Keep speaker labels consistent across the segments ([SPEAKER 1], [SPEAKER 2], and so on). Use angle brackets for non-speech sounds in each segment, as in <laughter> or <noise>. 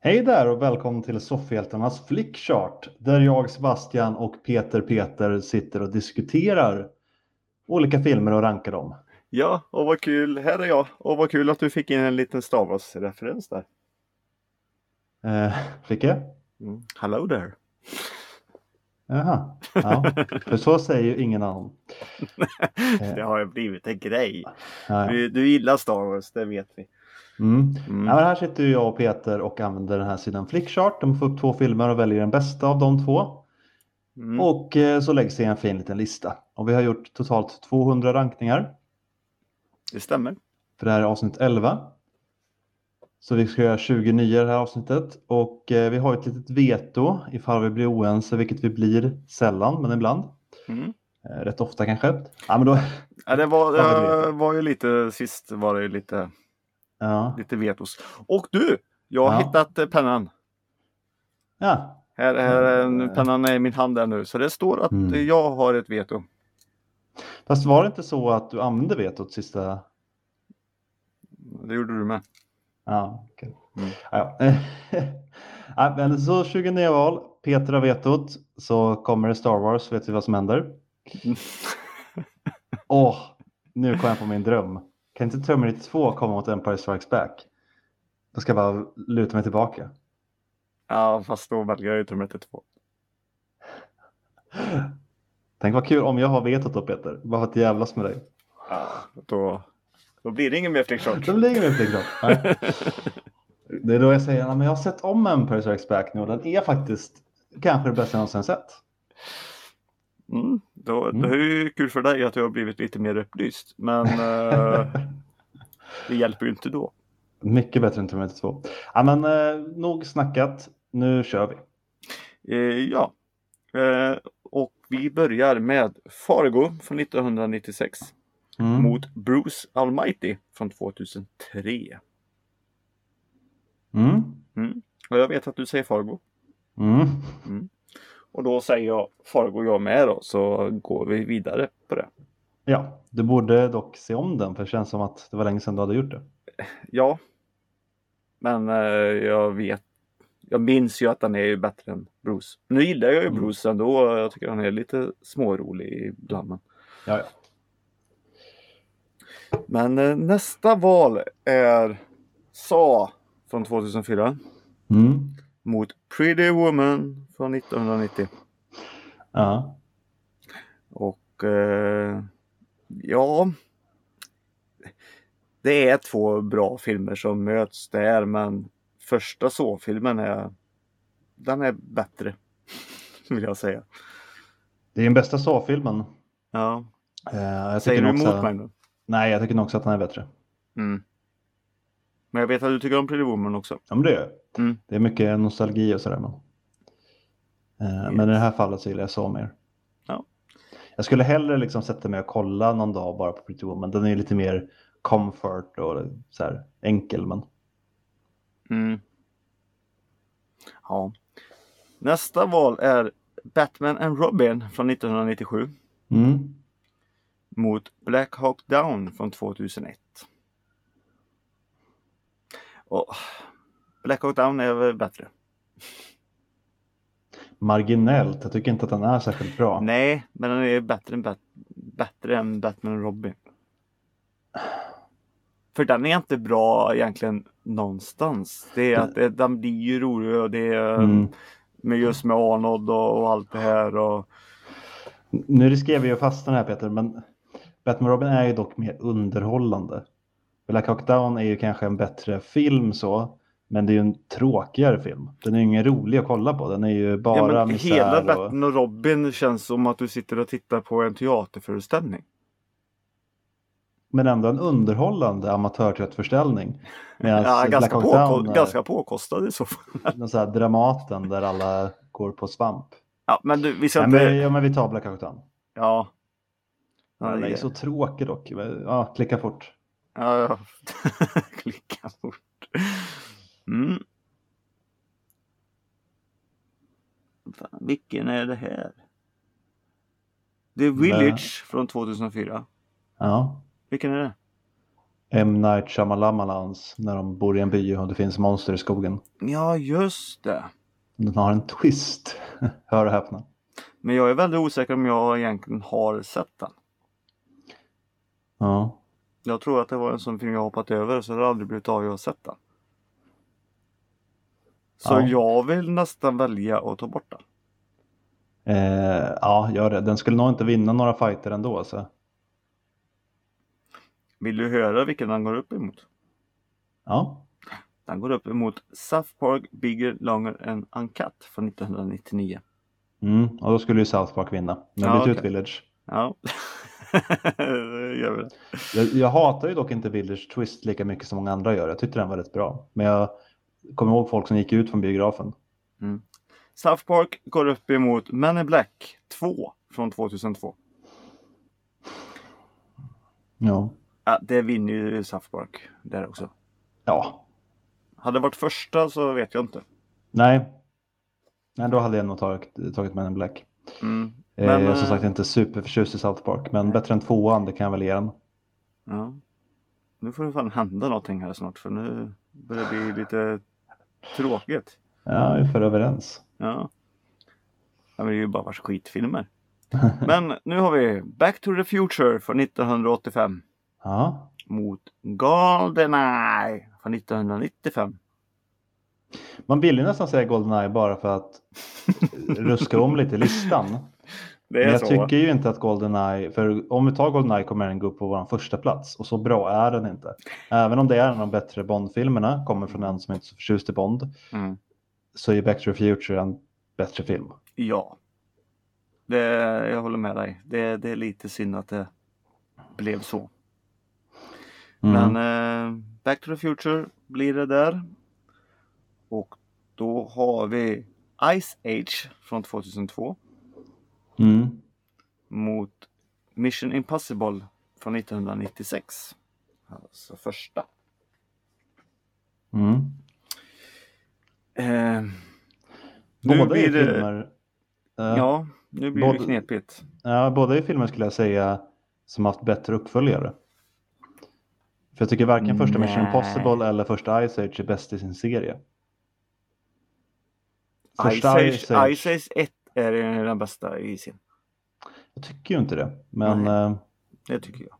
[SPEAKER 1] Hej där och välkommen till Soffhjältarnas flickchart där jag, Sebastian och Peter Peter sitter och diskuterar olika filmer och rankar dem.
[SPEAKER 2] Ja, och vad kul. Här är jag. Och vad kul att du fick in en liten Star Wars-referens där.
[SPEAKER 1] Eh, fick jag?
[SPEAKER 2] Mm. Hello there! <laughs>
[SPEAKER 1] Jaha. Ja. För så säger ju ingen annan.
[SPEAKER 2] Det har ju blivit en grej.
[SPEAKER 1] Eh. Ja, ja.
[SPEAKER 2] Du, du gillar Star Wars, det vet vi.
[SPEAKER 1] Mm. Ja,
[SPEAKER 2] Mm.
[SPEAKER 1] men här sitter ju jag och Peter och använder den här sidan Flickchart. De får upp två filmer och väljer den bästa av de två.
[SPEAKER 2] Mm.
[SPEAKER 1] Och eh, så läggs det i en fin liten lista. Och vi har gjort totalt 200 rankningar.
[SPEAKER 2] Det stämmer.
[SPEAKER 1] För det här är avsnitt 11. Så vi ska göra 29 i det här avsnittet. Och eh, vi har ett litet veto ifall vi blir oense, vilket vi blir sällan, men ibland.
[SPEAKER 2] Mm.
[SPEAKER 1] Eh, Rätt ofta kanske. Ja, men då...
[SPEAKER 2] Ja, det var,
[SPEAKER 1] Ja, det vet
[SPEAKER 2] det var ju lite, sist var det ju lite,
[SPEAKER 1] Ja.
[SPEAKER 2] lite vetos. Och du! Jag har
[SPEAKER 1] Ja.
[SPEAKER 2] hittat eh, pennan.
[SPEAKER 1] ja.
[SPEAKER 2] Här, här, är en-
[SPEAKER 1] Eh.
[SPEAKER 2] pennan är i min hand där nu, så det står att
[SPEAKER 1] Mm.
[SPEAKER 2] eh, jag har ett veto.
[SPEAKER 1] Fast var det inte så att du använde vetot sista...
[SPEAKER 2] Det gjorde du med.
[SPEAKER 1] Ja, okej.
[SPEAKER 2] Mm.
[SPEAKER 1] Ja, ja. <laughs> ja, men så 29 val. Peter har vetot. Så kommer det Star Wars, vet vi vad som händer. Åh, nu kom jag på min dröm. Kan inte Terminator 2 komma mot Empire Strikes Back? Då ska jag bara luta mig tillbaka.
[SPEAKER 2] Ja, fast då väljer jag ju Terminator 2.
[SPEAKER 1] Tänk vad kul om jag har vetot då Peter, bara för att jävlas med dig.
[SPEAKER 2] Ja, då, då blir det ingen mer flickchart.
[SPEAKER 1] De ligger med flygplan. Nej. Det är då jag säger, "Ja, men jag har sett om Empire Strikes Back nu och den är faktiskt kanske det bästa jag någonsin sett.
[SPEAKER 2] Mm, då,
[SPEAKER 1] Mm.
[SPEAKER 2] Det är ju kul för dig att du har blivit lite mer upplyst.
[SPEAKER 1] <laughs>
[SPEAKER 2] Men eh, det hjälper ju inte då.
[SPEAKER 1] Mycket bättre än Terminator 2. Ja, men eh, nog snackat, nu kör vi.
[SPEAKER 2] Eh, ja. Eh, och vi börjar med Fargo från 1996
[SPEAKER 1] Mm.
[SPEAKER 2] mot Bruce Almighty från 2003.
[SPEAKER 1] Mm.
[SPEAKER 2] Och jag vet att du säger Fargo.
[SPEAKER 1] Mm.
[SPEAKER 2] Och då säger jag Fargo jag med då så går vi vidare på det.
[SPEAKER 1] Ja, du borde dock se om den för det känns som att det var länge sedan du hade gjort det.
[SPEAKER 2] Ja. Men eh, jag vet. Jag minns ju att han är ju bättre än Bruce. Nu gillar jag ju
[SPEAKER 1] Mm.
[SPEAKER 2] Bruce ändå. Jag tycker han är lite smårolig ibland. men-
[SPEAKER 1] Ja, ja.
[SPEAKER 2] Men eh, nästa val är Sa från 2004
[SPEAKER 1] Mm.
[SPEAKER 2] mot Pretty Woman från 1990.
[SPEAKER 1] Ja.
[SPEAKER 2] Och eh, ja. Det är två bra filmer som möts där men första Saw-filmen är den är bättre. <laughs> Vill jag säga.
[SPEAKER 1] Det är den bästa Saw-filmen.
[SPEAKER 2] Ja.
[SPEAKER 1] Eh, jag
[SPEAKER 2] Säger
[SPEAKER 1] tycker
[SPEAKER 2] du
[SPEAKER 1] nog också-
[SPEAKER 2] emot mig nu?
[SPEAKER 1] Nej, jag tycker nog också att den är bättre.
[SPEAKER 2] Mm. Men jag vet att du tycker om Pretty Woman också.
[SPEAKER 1] Ja, men det är
[SPEAKER 2] Mm.
[SPEAKER 1] Det är mycket nostalgi och sådär. Men, eh,
[SPEAKER 2] Yes.
[SPEAKER 1] men i det här fallet så gillar jag så mer.
[SPEAKER 2] Ja.
[SPEAKER 1] Jag skulle hellre liksom sätta mig och kolla någon dag bara på Pretty Woman. Den är ju lite mer comfort och så här enkel. Men...
[SPEAKER 2] Mm. Ja. Nästa val är Batman and Robin från 1997
[SPEAKER 1] Mm.
[SPEAKER 2] mot Black Hawk Down från 2001. Och Black Hawk Down är väl bättre?
[SPEAKER 1] Marginellt. Jag tycker inte att den är särskilt bra.
[SPEAKER 2] Nej, men den är bättre än, Bat- bättre än Batman and Robin. För den är inte bra egentligen någonstans. Det är att det, den blir ju rolig och det är
[SPEAKER 1] Mm.
[SPEAKER 2] med just med Arnold och, och allt det här. Och,
[SPEAKER 1] Nu riskerar vi att fastna här Peter, men Batman Robin är ju dock mer underhållande. Black Hawk Down är ju kanske en bättre film så, men det är ju en tråkigare film. Den är ju ingen rolig att kolla på, den är ju
[SPEAKER 2] Ja,
[SPEAKER 1] bara
[SPEAKER 2] men
[SPEAKER 1] misär.
[SPEAKER 2] hela
[SPEAKER 1] och...
[SPEAKER 2] Batman och Robin känns som att du sitter och tittar på en teaterföreställning.
[SPEAKER 1] men ändå en underhållande amatörtröttförställning. Medan
[SPEAKER 2] Ja, ganska,
[SPEAKER 1] Black
[SPEAKER 2] påko-
[SPEAKER 1] Hawk Down eh. är
[SPEAKER 2] ganska påkostad i så fall.
[SPEAKER 1] den så här Dramaten där alla går på svamp.
[SPEAKER 2] Ja, men du, vi ska
[SPEAKER 1] Nej,
[SPEAKER 2] inte...
[SPEAKER 1] men, ja, men vi tar Black Hawk Down.
[SPEAKER 2] Ja. Ja,
[SPEAKER 1] Ja, den är
[SPEAKER 2] det-
[SPEAKER 1] ju så tråkig dock. Men, Ja, klicka fort.
[SPEAKER 2] ja, ja. <laughs> Klicka bort. Mm. Fan, vilken är det här? The Village från 2004.
[SPEAKER 1] Ja.
[SPEAKER 2] Vilken är det?
[SPEAKER 1] M. Night Shyamalans när de bor i en by och det finns monster i skogen.
[SPEAKER 2] Ja, just det.
[SPEAKER 1] Den har en twist. <laughs> Hör och häpna.
[SPEAKER 2] Men jag är väldigt osäker om jag egentligen har sett den.
[SPEAKER 1] Ja.
[SPEAKER 2] Jag tror att det var en sån film jag hoppat över så det har aldrig blivit av jag har sett den. Så
[SPEAKER 1] Ja.
[SPEAKER 2] jag vill nästan välja att ta bort den.
[SPEAKER 1] Eh, ja, gör det. Den skulle nog inte vinna några fighter ändå. Så.
[SPEAKER 2] Vill du höra vilken den går upp emot?
[SPEAKER 1] Ja,
[SPEAKER 2] Den går upp emot South Park Bigger, Longer and Uncut från 1999.
[SPEAKER 1] mm. och då skulle ju South Park vinna. Men
[SPEAKER 2] Ja,
[SPEAKER 1] byt ut
[SPEAKER 2] okej.
[SPEAKER 1] Village.
[SPEAKER 2] Ja, <laughs> det gör vi det.
[SPEAKER 1] Jag, jag hatar ju dock inte Village Twist lika mycket som många andra gör. Jag tyckte den var rätt bra. Men jag kommer ihåg folk som gick ut från biografen.
[SPEAKER 2] South Park går upp emot Men in Black 2 från 2002.
[SPEAKER 1] Ja.
[SPEAKER 2] Ja, det vinner ju South Park där också.
[SPEAKER 1] Ja.
[SPEAKER 2] Hade det varit första så vet jag inte.
[SPEAKER 1] Nej. Nej, då hade jag nog tagit, tagit Men in Black.
[SPEAKER 2] Mm.
[SPEAKER 1] Eh,
[SPEAKER 2] Men,
[SPEAKER 1] jag är som
[SPEAKER 2] eh,
[SPEAKER 1] sagt inte superförtjust i South Park, men bättre än tvåan, det kan jag väl ge den.
[SPEAKER 2] Ja. Nu får det fan hända någonting här snart för nu börjar det bli lite tråkigt.
[SPEAKER 1] Ja, vi är för överens.
[SPEAKER 2] Ja. ja men det är ju bara vars
[SPEAKER 1] <laughs>
[SPEAKER 2] skitfilmer. Men nu har vi Back to the Future från 1985
[SPEAKER 1] Ja.
[SPEAKER 2] mot Goldeneye från 1995.
[SPEAKER 1] Man vill ju nästan säga Goldeneye bara
[SPEAKER 2] <laughs>
[SPEAKER 1] för att ruska om lite i listan.
[SPEAKER 2] Det
[SPEAKER 1] Men
[SPEAKER 2] är
[SPEAKER 1] jag
[SPEAKER 2] så.
[SPEAKER 1] tycker ju inte att Goldeneye, för om vi tar Goldeneye kommer den gå upp på vår första plats och så bra är den inte. Även om det är en av de bättre Bond-filmerna, kommer från en som inte är så förtjust i Bond,
[SPEAKER 2] Mm.
[SPEAKER 1] så är Back to the Future en bättre film.
[SPEAKER 2] Ja. Det, jag håller med dig. Det, det är lite synd att det blev så.
[SPEAKER 1] Mm.
[SPEAKER 2] Men eh, Back to the Future blir det där. Och då har vi Ice Age från 2002
[SPEAKER 1] Mm.
[SPEAKER 2] mot Mission Impossible från 1996. Alltså första.
[SPEAKER 1] Mm.
[SPEAKER 2] Eh, nu
[SPEAKER 1] Båda är
[SPEAKER 2] blir det,
[SPEAKER 1] filmer... Eh, Ja.
[SPEAKER 2] Ja, nu blir
[SPEAKER 1] Både-
[SPEAKER 2] det knepigt.
[SPEAKER 1] Ja, båda i filmen skulle jag säga som haft bättre uppföljare. För jag tycker varken första Mission
[SPEAKER 2] Nej.
[SPEAKER 1] Impossible eller första Ice Age är bäst i sin serie.
[SPEAKER 2] Ice Age, Ice Age 1 är den bästa i sin.
[SPEAKER 1] Jag tycker ju inte det. Men
[SPEAKER 2] Nej.
[SPEAKER 1] eh,
[SPEAKER 2] Det tycker jag.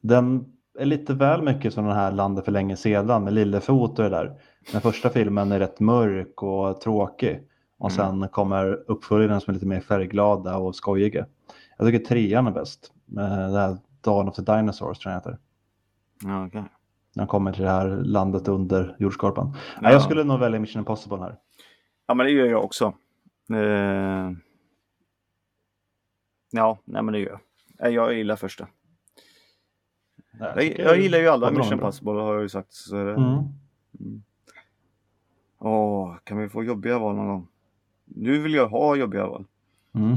[SPEAKER 1] den är lite väl mycket som den här landet för länge sedan med Lillefot och det där. Den första filmen är rätt mörk och tråkig. Och
[SPEAKER 2] Mm.
[SPEAKER 1] sen kommer uppföljarna som är lite mer färgglada och skojiga. Jag tycker trean är bäst. Eh, Det här Dawn of the Dinosaurs tror jag den heter.
[SPEAKER 2] Ja, okej.
[SPEAKER 1] när han kommer till det här landet under jordskorpan. Nej,
[SPEAKER 2] Ja.
[SPEAKER 1] Jag skulle nog välja Mission Impossible här.
[SPEAKER 2] Ja, men det gör jag också. Eh... Ja, nej men det gör jag. Nej, Jag gillar första.
[SPEAKER 1] Nej,
[SPEAKER 2] Jag,
[SPEAKER 1] tycker-
[SPEAKER 2] jag gillar ju alla
[SPEAKER 1] Ja, bra,
[SPEAKER 2] Mission
[SPEAKER 1] bra.
[SPEAKER 2] Impossible har jag ju sagt. Så... det-
[SPEAKER 1] Mm.
[SPEAKER 2] Åh, kan vi få jobbiga val någon gång? Nu vill jag ha jobbiga val.
[SPEAKER 1] Mm.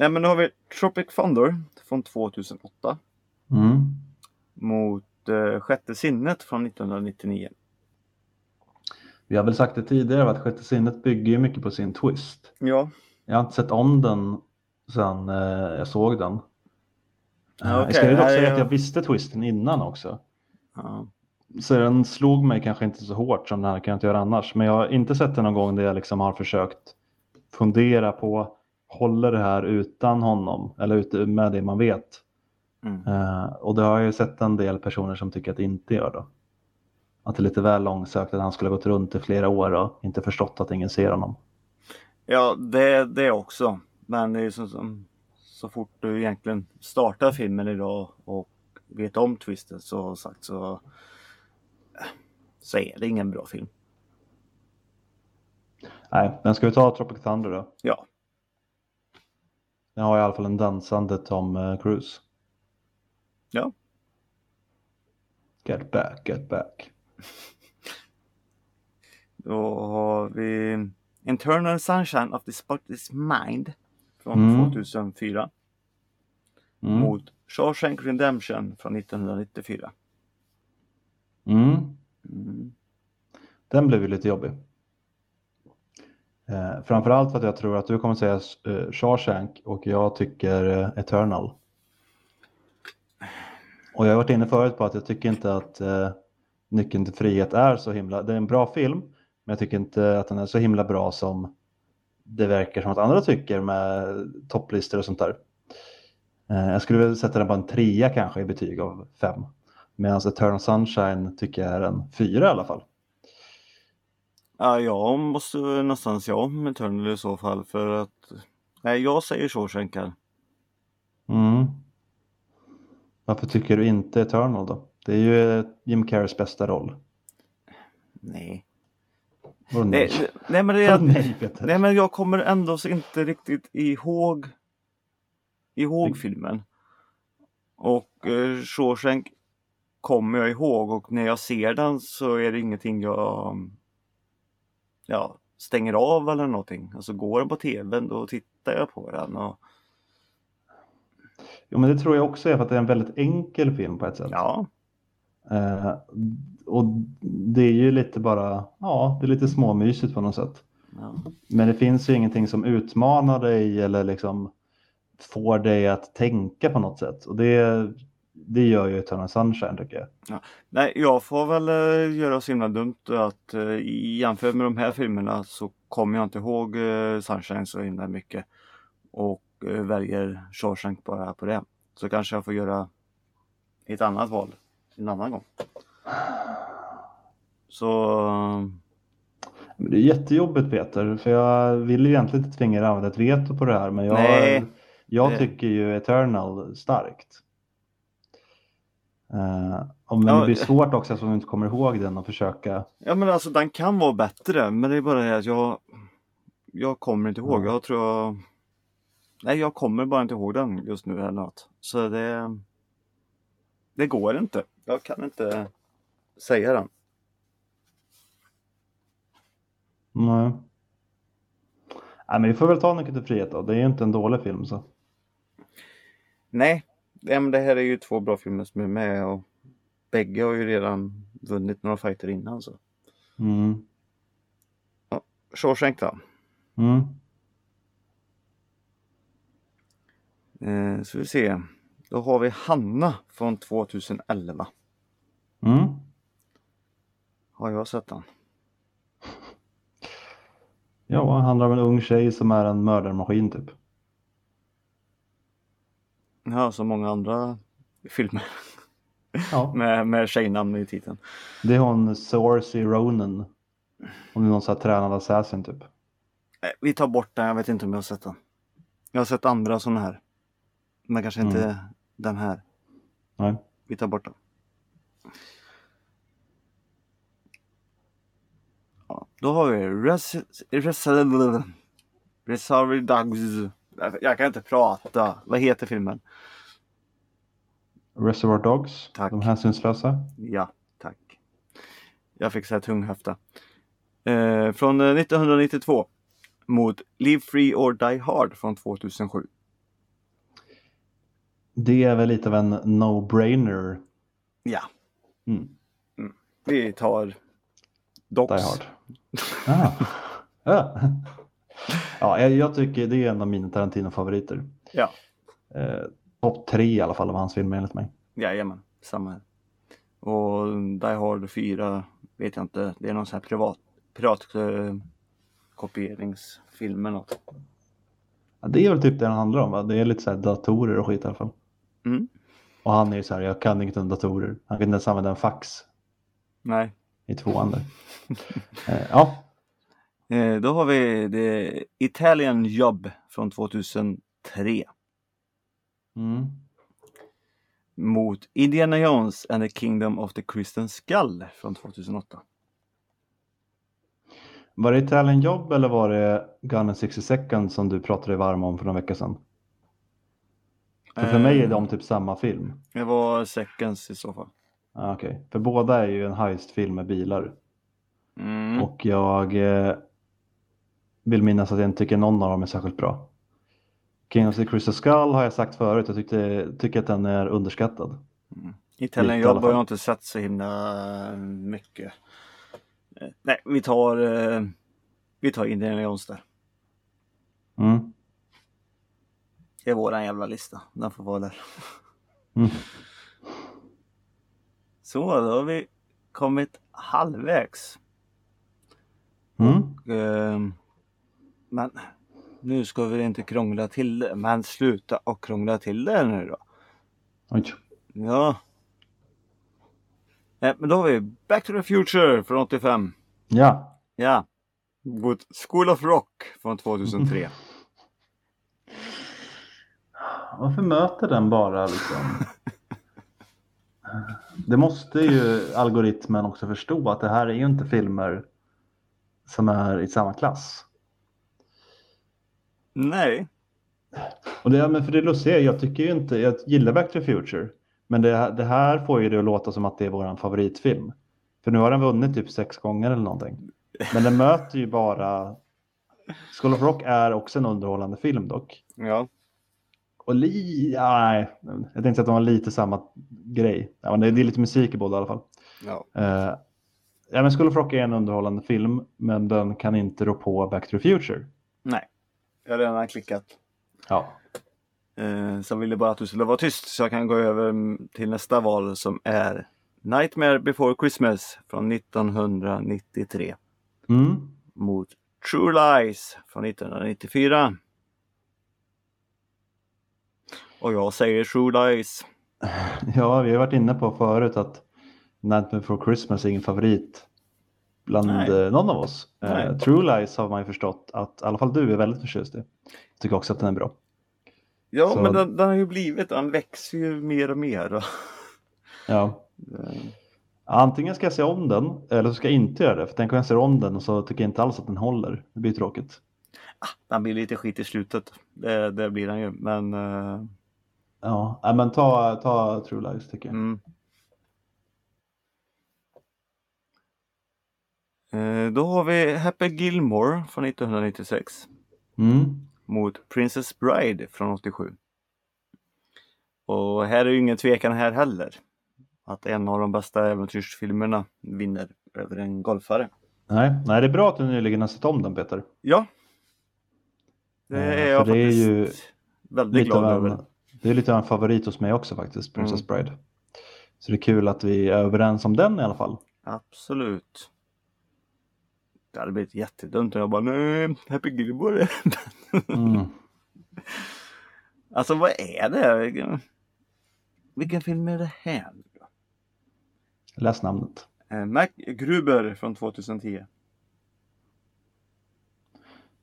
[SPEAKER 2] Nej, men nu har vi Tropic Thunder från 2008
[SPEAKER 1] Mm.
[SPEAKER 2] mot eh, Sjätte sinnet från 1999.
[SPEAKER 1] Vi har väl sagt det tidigare att Sjätte sinnet bygger ju mycket på sin twist.
[SPEAKER 2] Ja,
[SPEAKER 1] Jag har inte sett om den sedan eh, jag såg den.
[SPEAKER 2] Ja,
[SPEAKER 1] Eh,
[SPEAKER 2] okej.
[SPEAKER 1] Jag ska ju dock
[SPEAKER 2] Nej,
[SPEAKER 1] säga
[SPEAKER 2] jag-
[SPEAKER 1] att jag visste twisten innan också.
[SPEAKER 2] ja.
[SPEAKER 1] Så den slog mig kanske inte så hårt som den här kan jag inte göra annars. Men jag har inte sett den någon gång där jag liksom har försökt fundera på håller det här utan honom eller ute med det man vet.
[SPEAKER 2] Mm.
[SPEAKER 1] Eh, och det har jag ju sett en del personer som tycker att det inte gör då. Att det är lite väl långsökt att han skulle ha gått runt i flera år och inte förstått att ingen ser honom.
[SPEAKER 2] ja det, det också. Men det är som, som, så fort du egentligen startar filmen idag och vet om twisten så sagt så, eh, så är det ingen bra film.
[SPEAKER 1] Nej, men ska vi ta Tropic Thunder då?
[SPEAKER 2] Ja,
[SPEAKER 1] Den har i alla fall en dansande Tom eh, Cruise.
[SPEAKER 2] Ja.
[SPEAKER 1] Get back, get back.
[SPEAKER 2] då har vi Internal Sunshine of the Spotless Mind från
[SPEAKER 1] Mm.
[SPEAKER 2] 2004
[SPEAKER 1] Mm.
[SPEAKER 2] mot Shawshank Redemption från 1994.
[SPEAKER 1] Mm.
[SPEAKER 2] Mm.
[SPEAKER 1] Den blev ju lite jobbig. Eh, framförallt för att jag tror att du kommer säga eh, Shawshank och jag tycker eh, Eternal. Och jag har varit inne förut på att jag tycker inte att eh, Nyckeln till frihet är så himla... Det är en bra film, men jag tycker inte att den är så himla bra som det verkar som att andra tycker med topplistor och sånt där. Eh, jag skulle väl sätta den på en trea kanske i betyg av fem. Medan Eternal Sunshine tycker jag är en fyra i alla fall.
[SPEAKER 2] Ja, jag måste nästan se om Eternal i så fall för att... Nej, jag säger Shawshank här.
[SPEAKER 1] Mm. Varför tycker du inte Eternal då? Det är ju eh, Jim Carreys bästa roll.
[SPEAKER 2] Nej.
[SPEAKER 1] Vadå nej?
[SPEAKER 2] Nej, nej, men <laughs> det
[SPEAKER 1] Ja,
[SPEAKER 2] är...
[SPEAKER 1] nej, Peter.
[SPEAKER 2] Nej men jag kommer ändå så inte riktigt ihåg ihåg
[SPEAKER 1] Det-
[SPEAKER 2] filmen. Och eh, Shawshank kommer jag ihåg och när jag ser den så är det ingenting jag mm, ja, stänger av eller någonting. Alltså går den på tvn då tittar jag på den. Och,
[SPEAKER 1] Jo, men det tror jag också är för att det är en väldigt enkel film på ett sätt.
[SPEAKER 2] ja,
[SPEAKER 1] Eh, och det är ju lite bara, ja, det är lite småmysigt på något sätt.
[SPEAKER 2] ja.
[SPEAKER 1] Men det finns ju ingenting som utmanar dig eller liksom får dig att tänka på något sätt. Och det, det gör ju Eternal Sunshine tycker jag.
[SPEAKER 2] Nej, jag får väl eh, göra så himla dumt att eh, i- jämfört med de här filmerna så kommer jag inte ihåg eh, Sunshine så himla mycket. Och eh, väljer Shawshank bara på det. Så kanske jag får göra ett annat val en annan gång. Så eh,
[SPEAKER 1] Men det är jättejobbigt Peter, för jag vill ju egentligen inte tvinga er att använda ett veto på det här. Men jag,
[SPEAKER 2] Nej.
[SPEAKER 1] jag
[SPEAKER 2] Det-
[SPEAKER 1] tycker ju Eternal starkt. Eh, och men
[SPEAKER 2] Ja,
[SPEAKER 1] det blir
[SPEAKER 2] det-
[SPEAKER 1] svårt också eftersom du inte kommer ihåg den och försöka.
[SPEAKER 2] ja men alltså den kan vara bättre men det är bara det att jag jag kommer inte ihåg. Jag tror jag Nej jag kommer bara inte ihåg den just nu eller något. Så det Det går inte. Jag kan inte säga den.
[SPEAKER 1] Nej. Nej, men vi får väl ta Nyckeln till frihet då. Det är ju inte en dålig film så.
[SPEAKER 2] Nej, ja, men det här är ju två bra filmer som är med och bägge har ju redan vunnit några fighter innan så.
[SPEAKER 1] Mm.
[SPEAKER 2] Shawshank då.
[SPEAKER 1] Mm.
[SPEAKER 2] Eh, så vi se. Då har vi Hanna från 2011.
[SPEAKER 1] Mm.
[SPEAKER 2] Har jag sett den?
[SPEAKER 1] Ja, det handlar om en ung tjej som är en mördarmaskin typ.
[SPEAKER 2] Ja, som många andra filmer
[SPEAKER 1] Ja.
[SPEAKER 2] med, med tjejnamn i titeln.
[SPEAKER 1] Det är hon Sorcy Ronan. Hon är någon sån här tränad assassin typ.
[SPEAKER 2] Eh, vi tar bort den, jag vet inte om jag har sett den. Jag har sett andra sådana här. Men kanske inte den här.
[SPEAKER 1] Nej.
[SPEAKER 2] Vi tar bort den. Ja, då har vi res... res Reservoir Dogs. Jag kan inte prata. Vad heter filmen?
[SPEAKER 1] Reservoir Dogs.
[SPEAKER 2] Tack.
[SPEAKER 1] De hänsynslösa.
[SPEAKER 2] Ja, tack. Jag fick så här tung höfta. Eh, från eh, 1992 mot Live Free or Die Hard från 2007.
[SPEAKER 1] Det är väl lite av en no-brainer.
[SPEAKER 2] Ja,
[SPEAKER 1] Mm.
[SPEAKER 2] vi tar Dogs.
[SPEAKER 1] Die Hard.
[SPEAKER 2] <laughs>
[SPEAKER 1] Ah. Ja. ja, jag- jag tycker det är en av mina Tarantino-favoriter.
[SPEAKER 2] Ja.
[SPEAKER 1] Eh, Topp tre i alla fall av hans filmer enligt mig.
[SPEAKER 2] Jajamän, samma här. Och Die Hard 4 vet jag inte. Det är någon sån här privat, privat eh, kopieringsfilm eller något.
[SPEAKER 1] Ja, det är väl typ det den handlar om. Va? Det är lite så här datorer och skit i alla fall.
[SPEAKER 2] Mm.
[SPEAKER 1] Och han är ju så här, jag kan inget om datorer. Han kan inte ens använda en fax
[SPEAKER 2] Nej.
[SPEAKER 1] i
[SPEAKER 2] <laughs>
[SPEAKER 1] tvåan där. eh, ja,
[SPEAKER 2] Eh, då har vi The Italian Job från 2003
[SPEAKER 1] mm.
[SPEAKER 2] mot Indiana Jones and the Kingdom of the Crystal Skull från 2008.
[SPEAKER 1] Var det Italian Job eller var det Gun and 60 Seconds som du pratade varm om för några veckor sedan? För, för
[SPEAKER 2] Eh,
[SPEAKER 1] mig är de typ samma film.
[SPEAKER 2] Det var Seconds i så fall.
[SPEAKER 1] Ah, okej. För båda är ju en heistfilm med bilar.
[SPEAKER 2] Mm.
[SPEAKER 1] Och jag eh, vill minnas att jag inte tycker någon av dem är särskilt bra. King of the Crystal Skull har jag sagt förut, jag tyckte, tycker att den är underskattad.
[SPEAKER 2] Italian
[SPEAKER 1] Lite i alla
[SPEAKER 2] Job har
[SPEAKER 1] fall.
[SPEAKER 2] jag inte sett så himla mycket. Eh, Nej, vi tar, eh, vi tar Indiana Jones där.
[SPEAKER 1] Mm.
[SPEAKER 2] Det är våran jävla lista. Den får vara där.
[SPEAKER 1] Mm.
[SPEAKER 2] Så, då har vi kommit halvvägs.
[SPEAKER 1] Mm.
[SPEAKER 2] Ehm, men nu ska vi inte krångla till det. Men sluta och krångla till det nu då.
[SPEAKER 1] Oj.
[SPEAKER 2] Ja. Nej, men då har vi Back to the Future från 85.
[SPEAKER 1] Ja,
[SPEAKER 2] Ja. Mot School of Rock från 2003.
[SPEAKER 1] varför möter den bara liksom? Det måste ju algoritmen också förstå att det här är ju inte filmer som är i samma klass.
[SPEAKER 2] Nej.
[SPEAKER 1] Och det, men för det lustiga är, jag tycker ju inte, jag gillar Back to the Future. Men det, det här får ju det att låta som att det är vår favoritfilm. För nu har den vunnit typ sex gånger eller någonting. Men den möter ju bara... School of Rock är också en underhållande film dock.
[SPEAKER 2] Ja.
[SPEAKER 1] Och li... Nej, jag tänkte att de var lite samma grej. Ja, men det, det är lite musik i båda i alla fall.
[SPEAKER 2] Ja.
[SPEAKER 1] Eh, ja, men School of Rock är en underhållande film, men den kan inte rå på Back to the Future.
[SPEAKER 2] Nej. Jag har redan klickat.
[SPEAKER 1] Ja.
[SPEAKER 2] Eh, så jag ville bara att du skulle vara tyst så jag kan gå över mm, till nästa val som är Nightmare before Christmas från 1993
[SPEAKER 1] Mm. <laughs>
[SPEAKER 2] mot True Lies från 1994. Och jag säger True Lies.
[SPEAKER 1] Ja, vi har varit inne på förut att Nightmare Before Christmas är ingen favorit bland
[SPEAKER 2] Nej.
[SPEAKER 1] eh, någon av oss. Eh,
[SPEAKER 2] Nej.
[SPEAKER 1] True Lies har man ju förstått att i alla fall du är väldigt förtjust i. Tycker också att den är bra.
[SPEAKER 2] Ja,
[SPEAKER 1] Så-
[SPEAKER 2] men den, den har ju blivit, den växer ju mer och mer. <laughs> Och,
[SPEAKER 1] Ja. Eh, Antingen ska jag se om den eller så ska jag inte göra det. För tänk om jag ser om den och så tycker jag inte alls att den håller. Det blir tråkigt.
[SPEAKER 2] den blir lite skit i slutet, det, det blir den ju. Men eh,
[SPEAKER 1] Ja, nej, men ta, ta True Lies tycker jag.
[SPEAKER 2] Mm. Eh, Då har vi Happy Gilmore från 1996
[SPEAKER 1] Mm.
[SPEAKER 2] mot Princess Bride från 87. Och här är ju ingen tvekan här heller. Att en av de bästa äventyrsfilmerna vinner över en golfare.
[SPEAKER 1] Nej, nej, det är bra att du nyligen har sett om den Peter.
[SPEAKER 2] Ja. Det
[SPEAKER 1] Eh,
[SPEAKER 2] är
[SPEAKER 1] för
[SPEAKER 2] jag
[SPEAKER 1] det är
[SPEAKER 2] faktiskt
[SPEAKER 1] ju
[SPEAKER 2] väldigt
[SPEAKER 1] lite
[SPEAKER 2] glad
[SPEAKER 1] av en,
[SPEAKER 2] över.
[SPEAKER 1] det är lite av en favorit hos mig också faktiskt, Princess Bride. Så det är kul att vi är överens om den i alla fall.
[SPEAKER 2] Absolut. Det hade blivit jättedumt om jag bara nej, Happy Gilmore <laughs>
[SPEAKER 1] Mm.
[SPEAKER 2] Alltså vad är det? Vilken, vilken film är det här? nu då?
[SPEAKER 1] Läs namnet.
[SPEAKER 2] Eh, Mac Gruber från 2010.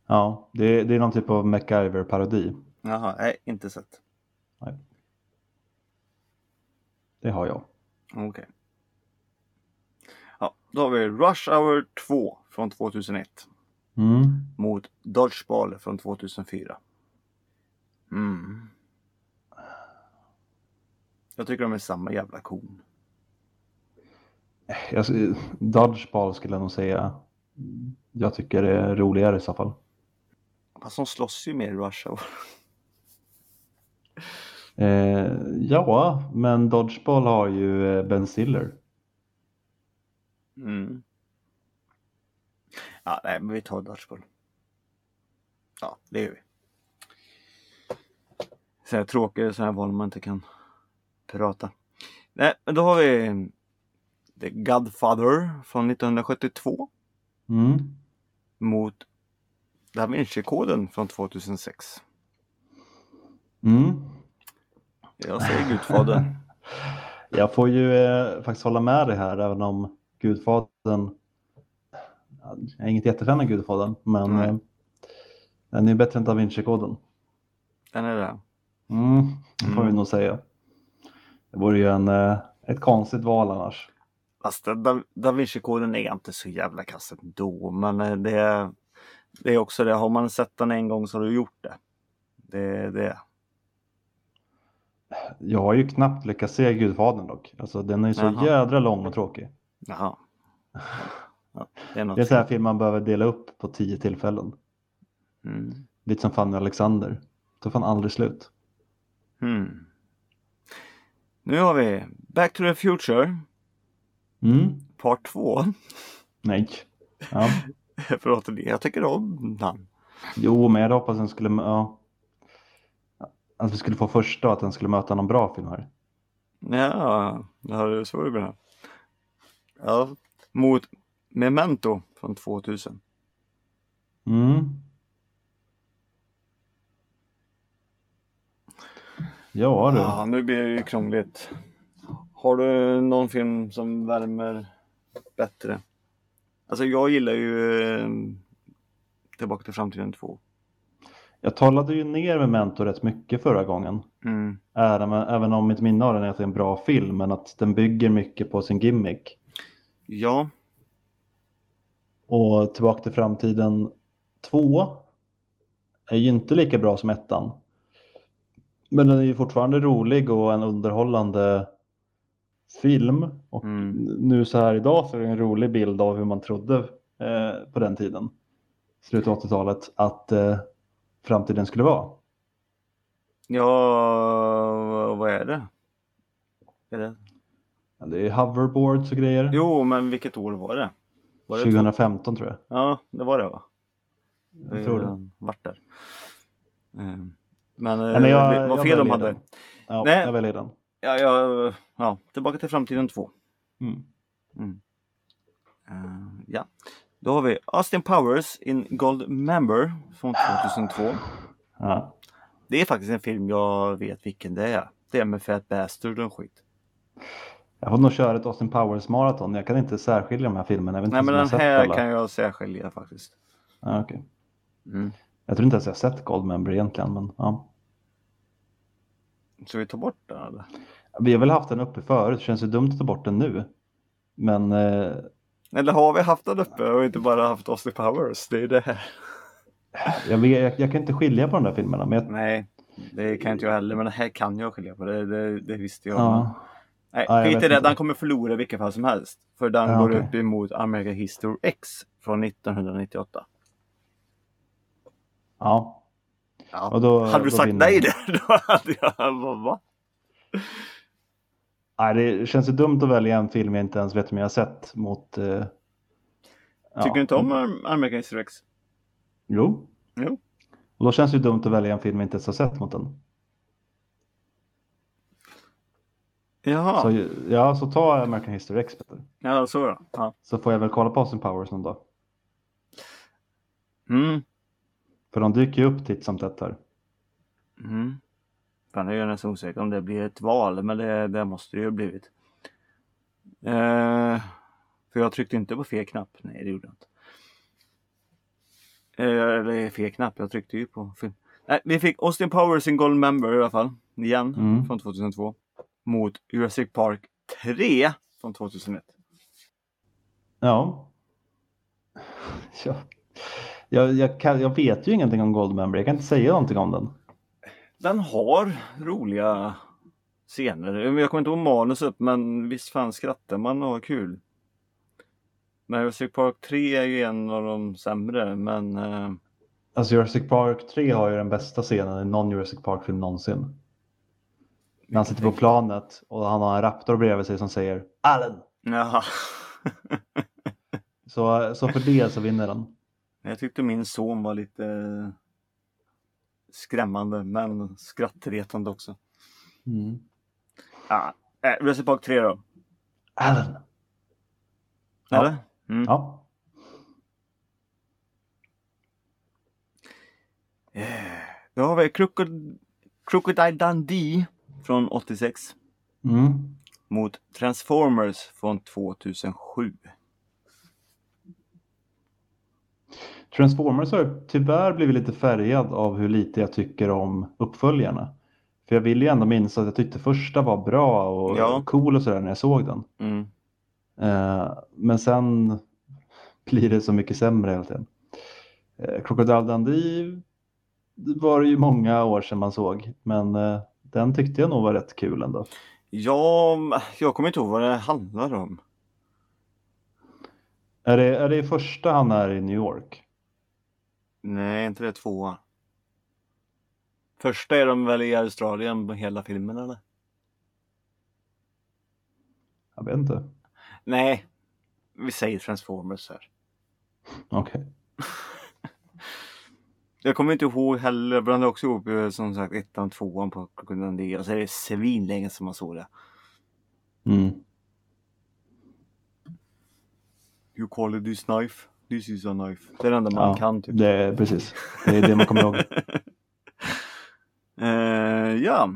[SPEAKER 1] Ja, det är, det är någon typ av MacGyver-parodi.
[SPEAKER 2] Jaha, nej, inte sett.
[SPEAKER 1] Det har jag.
[SPEAKER 2] Okej. Ja, då har vi Rush Hour 2 från 2001
[SPEAKER 1] Mm.
[SPEAKER 2] mot Dodgeball från 2004. Mm. Jag tycker de är samma jävla kon.
[SPEAKER 1] Jag, Dodgeball skulle jag nog säga. Jag tycker det är roligare i så fall.
[SPEAKER 2] Fast de slåss ju mer i Rush Hour.
[SPEAKER 1] Eh, ja, men Dodgeball har ju eh, Ben Stiller.
[SPEAKER 2] Mm. Ja, nej, men vi tar Dodgeball. Ja, det gör vi. Så här tråkiga så här val man inte kan prata. Nej, men då har vi mm, The Godfather från 1972
[SPEAKER 1] Mm.
[SPEAKER 2] mot Da Vinci-koden från 2006.
[SPEAKER 1] Mm.
[SPEAKER 2] Jag säger Gudfadern.
[SPEAKER 1] Jag får ju eh, faktiskt hålla med dig här, även om Gudfadern... Jag är inget jättefan av Gudfadern, men
[SPEAKER 2] Nej.
[SPEAKER 1] eh, den är bättre än Da Vinci-koden.
[SPEAKER 2] Den är det.
[SPEAKER 1] Mm, det får vi
[SPEAKER 2] Mm.
[SPEAKER 1] nog säga. Det vore ju en, eh, ett konstigt val annars.
[SPEAKER 2] Fast da, da Vinci-koden är inte så jävla kass ändå. Men eh, det, är- det är också det, har man sett den en gång så har du gjort det. Det är det.
[SPEAKER 1] Jag har ju knappt lyckats se Gudfadern dock. Alltså den är ju så
[SPEAKER 2] Jaha.
[SPEAKER 1] jädra lång och tråkig.
[SPEAKER 2] Jaha. Ja, det är något.
[SPEAKER 1] Det är så här film man behöver dela upp på tio tillfällen.
[SPEAKER 2] Mm.
[SPEAKER 1] Lite som Fanny och Alexander. Tar fan aldrig slut.
[SPEAKER 2] Mm. Nu har vi Back to the Future
[SPEAKER 1] Mm.
[SPEAKER 2] Part 2.
[SPEAKER 1] Nej. Ja.
[SPEAKER 2] <laughs> Förlåt, jag tycker om den.
[SPEAKER 1] Jo, men jag hade hoppats den skulle... mö- Ja. Att vi skulle få första och att den skulle möta någon bra film här.
[SPEAKER 2] Ja, det har du så bra. Ja, mot Memento från 2000.
[SPEAKER 1] Mm. Ja du.
[SPEAKER 2] Ja, nu blir det ju krångligt. Har du någon film som värmer bättre? Alltså jag gillar ju eh, Tillbaka till framtiden 2.
[SPEAKER 1] Jag talade ju ner Memento rätt mycket förra gången.
[SPEAKER 2] Mm.
[SPEAKER 1] Även, även om mitt minne av den är att det är en bra film, men att den bygger mycket på sin gimmick.
[SPEAKER 2] Ja,
[SPEAKER 1] Och Tillbaka till framtiden 2 är ju inte lika bra som ettan. Men den är ju fortfarande rolig och en underhållande film. Och
[SPEAKER 2] Mm.
[SPEAKER 1] nu så här idag så är det en rolig bild av hur man trodde eh, på den tiden, slutet av 80-talet, att eh, framtiden skulle vara.
[SPEAKER 2] ja, vad är det? Är det?
[SPEAKER 1] Ja, Det är hoverboards och grejer.
[SPEAKER 2] Jo, men vilket år var det? Var det
[SPEAKER 1] 2015 tror jag.
[SPEAKER 2] Ja, det var det va?
[SPEAKER 1] Jag
[SPEAKER 2] Eh,
[SPEAKER 1] tror det.
[SPEAKER 2] Vart där. Eh, Men,
[SPEAKER 1] Nej, men jag-
[SPEAKER 2] eh, vad
[SPEAKER 1] jag
[SPEAKER 2] fel de
[SPEAKER 1] väljer
[SPEAKER 2] hade.
[SPEAKER 1] den. Ja,
[SPEAKER 2] Nej.
[SPEAKER 1] Jag väljer den.
[SPEAKER 2] Ja, ja, ja, tillbaka till framtiden 2.
[SPEAKER 1] Mm.
[SPEAKER 2] Eh, ja. Då har vi Austin Powers in Gold Member från 2002.
[SPEAKER 1] Ja.
[SPEAKER 2] Det är faktiskt en film jag vet vilken det är. Det är med Fat Bastard och skit.
[SPEAKER 1] Jag får nog köra ett Austin Powers maraton. Jag kan inte särskilja de här filmerna. Jag vet inte
[SPEAKER 2] Nej men den
[SPEAKER 1] ens om jag har sett
[SPEAKER 2] här
[SPEAKER 1] alla.
[SPEAKER 2] kan jag särskilja faktiskt.
[SPEAKER 1] Ja, okej.
[SPEAKER 2] Mm.
[SPEAKER 1] Jag tror inte ens jag har sett Goldmember egentligen. Men, ja.
[SPEAKER 2] Så vi tar bort den eller?
[SPEAKER 1] Vi har väl haft den uppe förut. Känns ju dumt att ta bort den nu. Men eh,
[SPEAKER 2] Eller har vi haft den uppe och inte bara haft Austin Powers? Det är det här.
[SPEAKER 1] jag, vet, jag, jag kan inte skilja på de där filmerna. Men jag,
[SPEAKER 2] Nej, det kan inte jag heller. Men det här kan jag skilja på. Det, det, det visste jag.
[SPEAKER 1] ja.
[SPEAKER 2] Nej,
[SPEAKER 1] Ja, jag
[SPEAKER 2] skit i
[SPEAKER 1] vet
[SPEAKER 2] det.
[SPEAKER 1] inte.
[SPEAKER 2] Den kommer förlora i vilket fall som helst. För den
[SPEAKER 1] Ja,
[SPEAKER 2] går
[SPEAKER 1] okej.
[SPEAKER 2] upp emot America History X från 1998.
[SPEAKER 1] Ja.
[SPEAKER 2] Ja.
[SPEAKER 1] Och då,
[SPEAKER 2] hade du
[SPEAKER 1] då
[SPEAKER 2] sagt
[SPEAKER 1] vinner
[SPEAKER 2] nej
[SPEAKER 1] den.
[SPEAKER 2] där, <laughs> då hade jag bara va?
[SPEAKER 1] Nej, det känns ju dumt att välja en film jag inte ens vet om jag har sett mot... Eh,
[SPEAKER 2] Tycker du inte om
[SPEAKER 1] Mm.
[SPEAKER 2] Am- American History X?
[SPEAKER 1] Jo.
[SPEAKER 2] Jo.
[SPEAKER 1] Och då känns det ju dumt att välja en film jag inte ens har sett mot den.
[SPEAKER 2] Jaha,
[SPEAKER 1] Så, ju- ja, så ta American History X Peter.
[SPEAKER 2] ja så då. Ja.
[SPEAKER 1] Så får jag väl kolla på Austin Powers någon dag.
[SPEAKER 2] Mm.
[SPEAKER 1] För de dyker ju upp titt som tätt här.
[SPEAKER 2] Mm. Fan, jag är nästan osäker om det blir ett val, men det, det måste det ju ha blivit. Eh, för jag tryckte inte på fel knapp. Nej, det gjorde jag inte. Eh, eller fel knapp, jag tryckte ju på film. Nej, vi fick Austin Powers in Gold Member i alla fall. Igen,
[SPEAKER 1] Mm.
[SPEAKER 2] från 2002. Mot Jurassic Park 3 från 2001.
[SPEAKER 1] Ja. <laughs> ja. Jag, jag, kan, jag vet ju ingenting om Goldmember. Jag kan inte säga någonting om den.
[SPEAKER 2] Den har roliga scener. Jag kommer inte ihåg manus upp men visst fan skrattar man och har kul. Men Jurassic Park 3 är ju en av de sämre men eh,
[SPEAKER 1] Alltså Jurassic Park 3 har ju den bästa scenen i någon Jurassic Park-film någonsin. När han sitter på planet och han har en raptor bredvid sig som säger Allen.
[SPEAKER 2] jaha. <laughs>
[SPEAKER 1] Så, så för det så vinner den.
[SPEAKER 2] Jag tyckte min son var lite eh, skrämmande men skrattretande också.
[SPEAKER 1] Mm.
[SPEAKER 2] Ah, eh, Jurassic Park 3 då?
[SPEAKER 1] Allen. Ja.
[SPEAKER 2] Eller? Mm.
[SPEAKER 1] Ja.
[SPEAKER 2] Eh, Då har vi Crocod- Crocodile Dundee från 86.
[SPEAKER 1] Mm.
[SPEAKER 2] mot Transformers från 2007.
[SPEAKER 1] Transformers har tyvärr blivit lite färgad av hur lite jag tycker om uppföljarna. För jag vill ju ändå minnas att jag tyckte första var bra och
[SPEAKER 2] Ja.
[SPEAKER 1] cool och sådär när jag såg den.
[SPEAKER 2] Mm.
[SPEAKER 1] Eh, men sen blir det så mycket sämre hela tiden. Eh, Crocodile Dundee var det ju många år sedan man såg, men eh, den tyckte jag nog var rätt kul ändå.
[SPEAKER 2] Ja, jag kommer inte ihåg vad det handlar om.
[SPEAKER 1] Är det, är det i första han är i New York?
[SPEAKER 2] Nej, inte det tvåan. Första är de väl i Australien på hela filmen eller?
[SPEAKER 1] Jag vet inte.
[SPEAKER 2] Nej, vi säger Transformers här.
[SPEAKER 1] Okej.
[SPEAKER 2] Jag kommer inte ihåg heller, jag blandade också ihop eh, som sagt ettan och tvåan på Crocodile Dundee. Alltså det är svinlänge som man såg det.
[SPEAKER 1] Mm.
[SPEAKER 2] You call it this knife? This is a knife. Det är det enda man
[SPEAKER 1] Ja,
[SPEAKER 2] kan typ.
[SPEAKER 1] Det är, precis, det är det man kommer ihåg.
[SPEAKER 2] Eh, ja,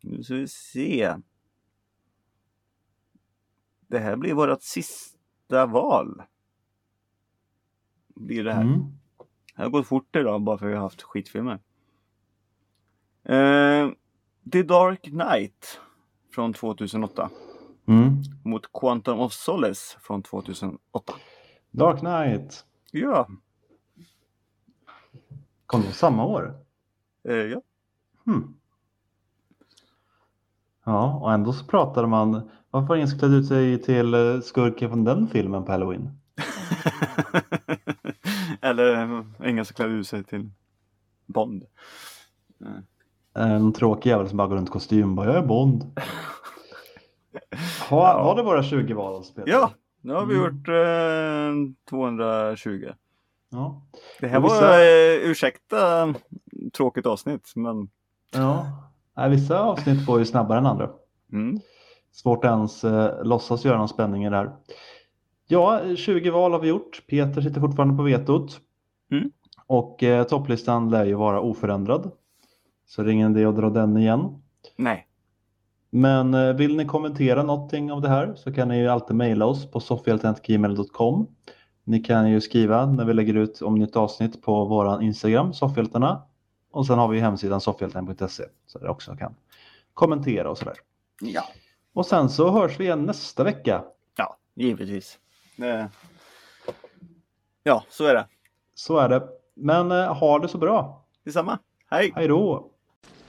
[SPEAKER 2] nu ska vi se. Det här blir vårt sista val. Blir det här.
[SPEAKER 1] Mm.
[SPEAKER 2] Det har gått fort idag bara för att vi har haft skitfilmer. Eh, The Dark Knight från 2008
[SPEAKER 1] Mm.
[SPEAKER 2] mot Quantum of Solace från 2008.
[SPEAKER 1] Dark Knight.
[SPEAKER 2] Ja,
[SPEAKER 1] Kom de samma år?
[SPEAKER 2] eh, ja. <laughs>
[SPEAKER 1] Hmm. Ja, och ändå så pratade man. Varför har ingen klätt ut sig till eh, skurken från den filmen på halloween?
[SPEAKER 2] Eller eh, ingen som klär ut sig till Bond.
[SPEAKER 1] En tråkig jävel som bara går runt i kostym bara, jag är Bond. Ha,
[SPEAKER 2] Ja.
[SPEAKER 1] Var det våra 20 val, Peter?
[SPEAKER 2] Ja, nu har vi
[SPEAKER 1] Mm.
[SPEAKER 2] gjort eh, 220.
[SPEAKER 1] ja.
[SPEAKER 2] Det här
[SPEAKER 1] Men
[SPEAKER 2] var,
[SPEAKER 1] vissa-
[SPEAKER 2] eh, ursäkta, tråkigt avsnitt, men
[SPEAKER 1] Ja. Nej, vissa avsnitt går ju snabbare än andra.
[SPEAKER 2] mm,
[SPEAKER 1] Svårt att ens eh, låtsas göra någon spänning i det här. Ja, 20 val har vi gjort. Peter sitter fortfarande på vetot.
[SPEAKER 2] Mm.
[SPEAKER 1] Och eh, topplistan lär ju vara oförändrad. Så det är ingen idé att dra den igen.
[SPEAKER 2] nej.
[SPEAKER 1] Men eh, vill ni kommentera någonting av det här så kan ni ju alltid mejla oss på soffhjältarna.gmail.com. Ni kan ju skriva när vi lägger ut om nytt avsnitt på våran Instagram, Soffhjältarna. Och sen har vi hemsidan soffhjältarna.se så där också kan kommentera och sådär.
[SPEAKER 2] Ja.
[SPEAKER 1] Och sen så hörs vi igen nästa vecka.
[SPEAKER 2] Ja, givetvis. Eh, ja, så är det.
[SPEAKER 1] Så är det. Men eh, ha det så bra.
[SPEAKER 2] Detsamma. Hej!
[SPEAKER 1] Hej då!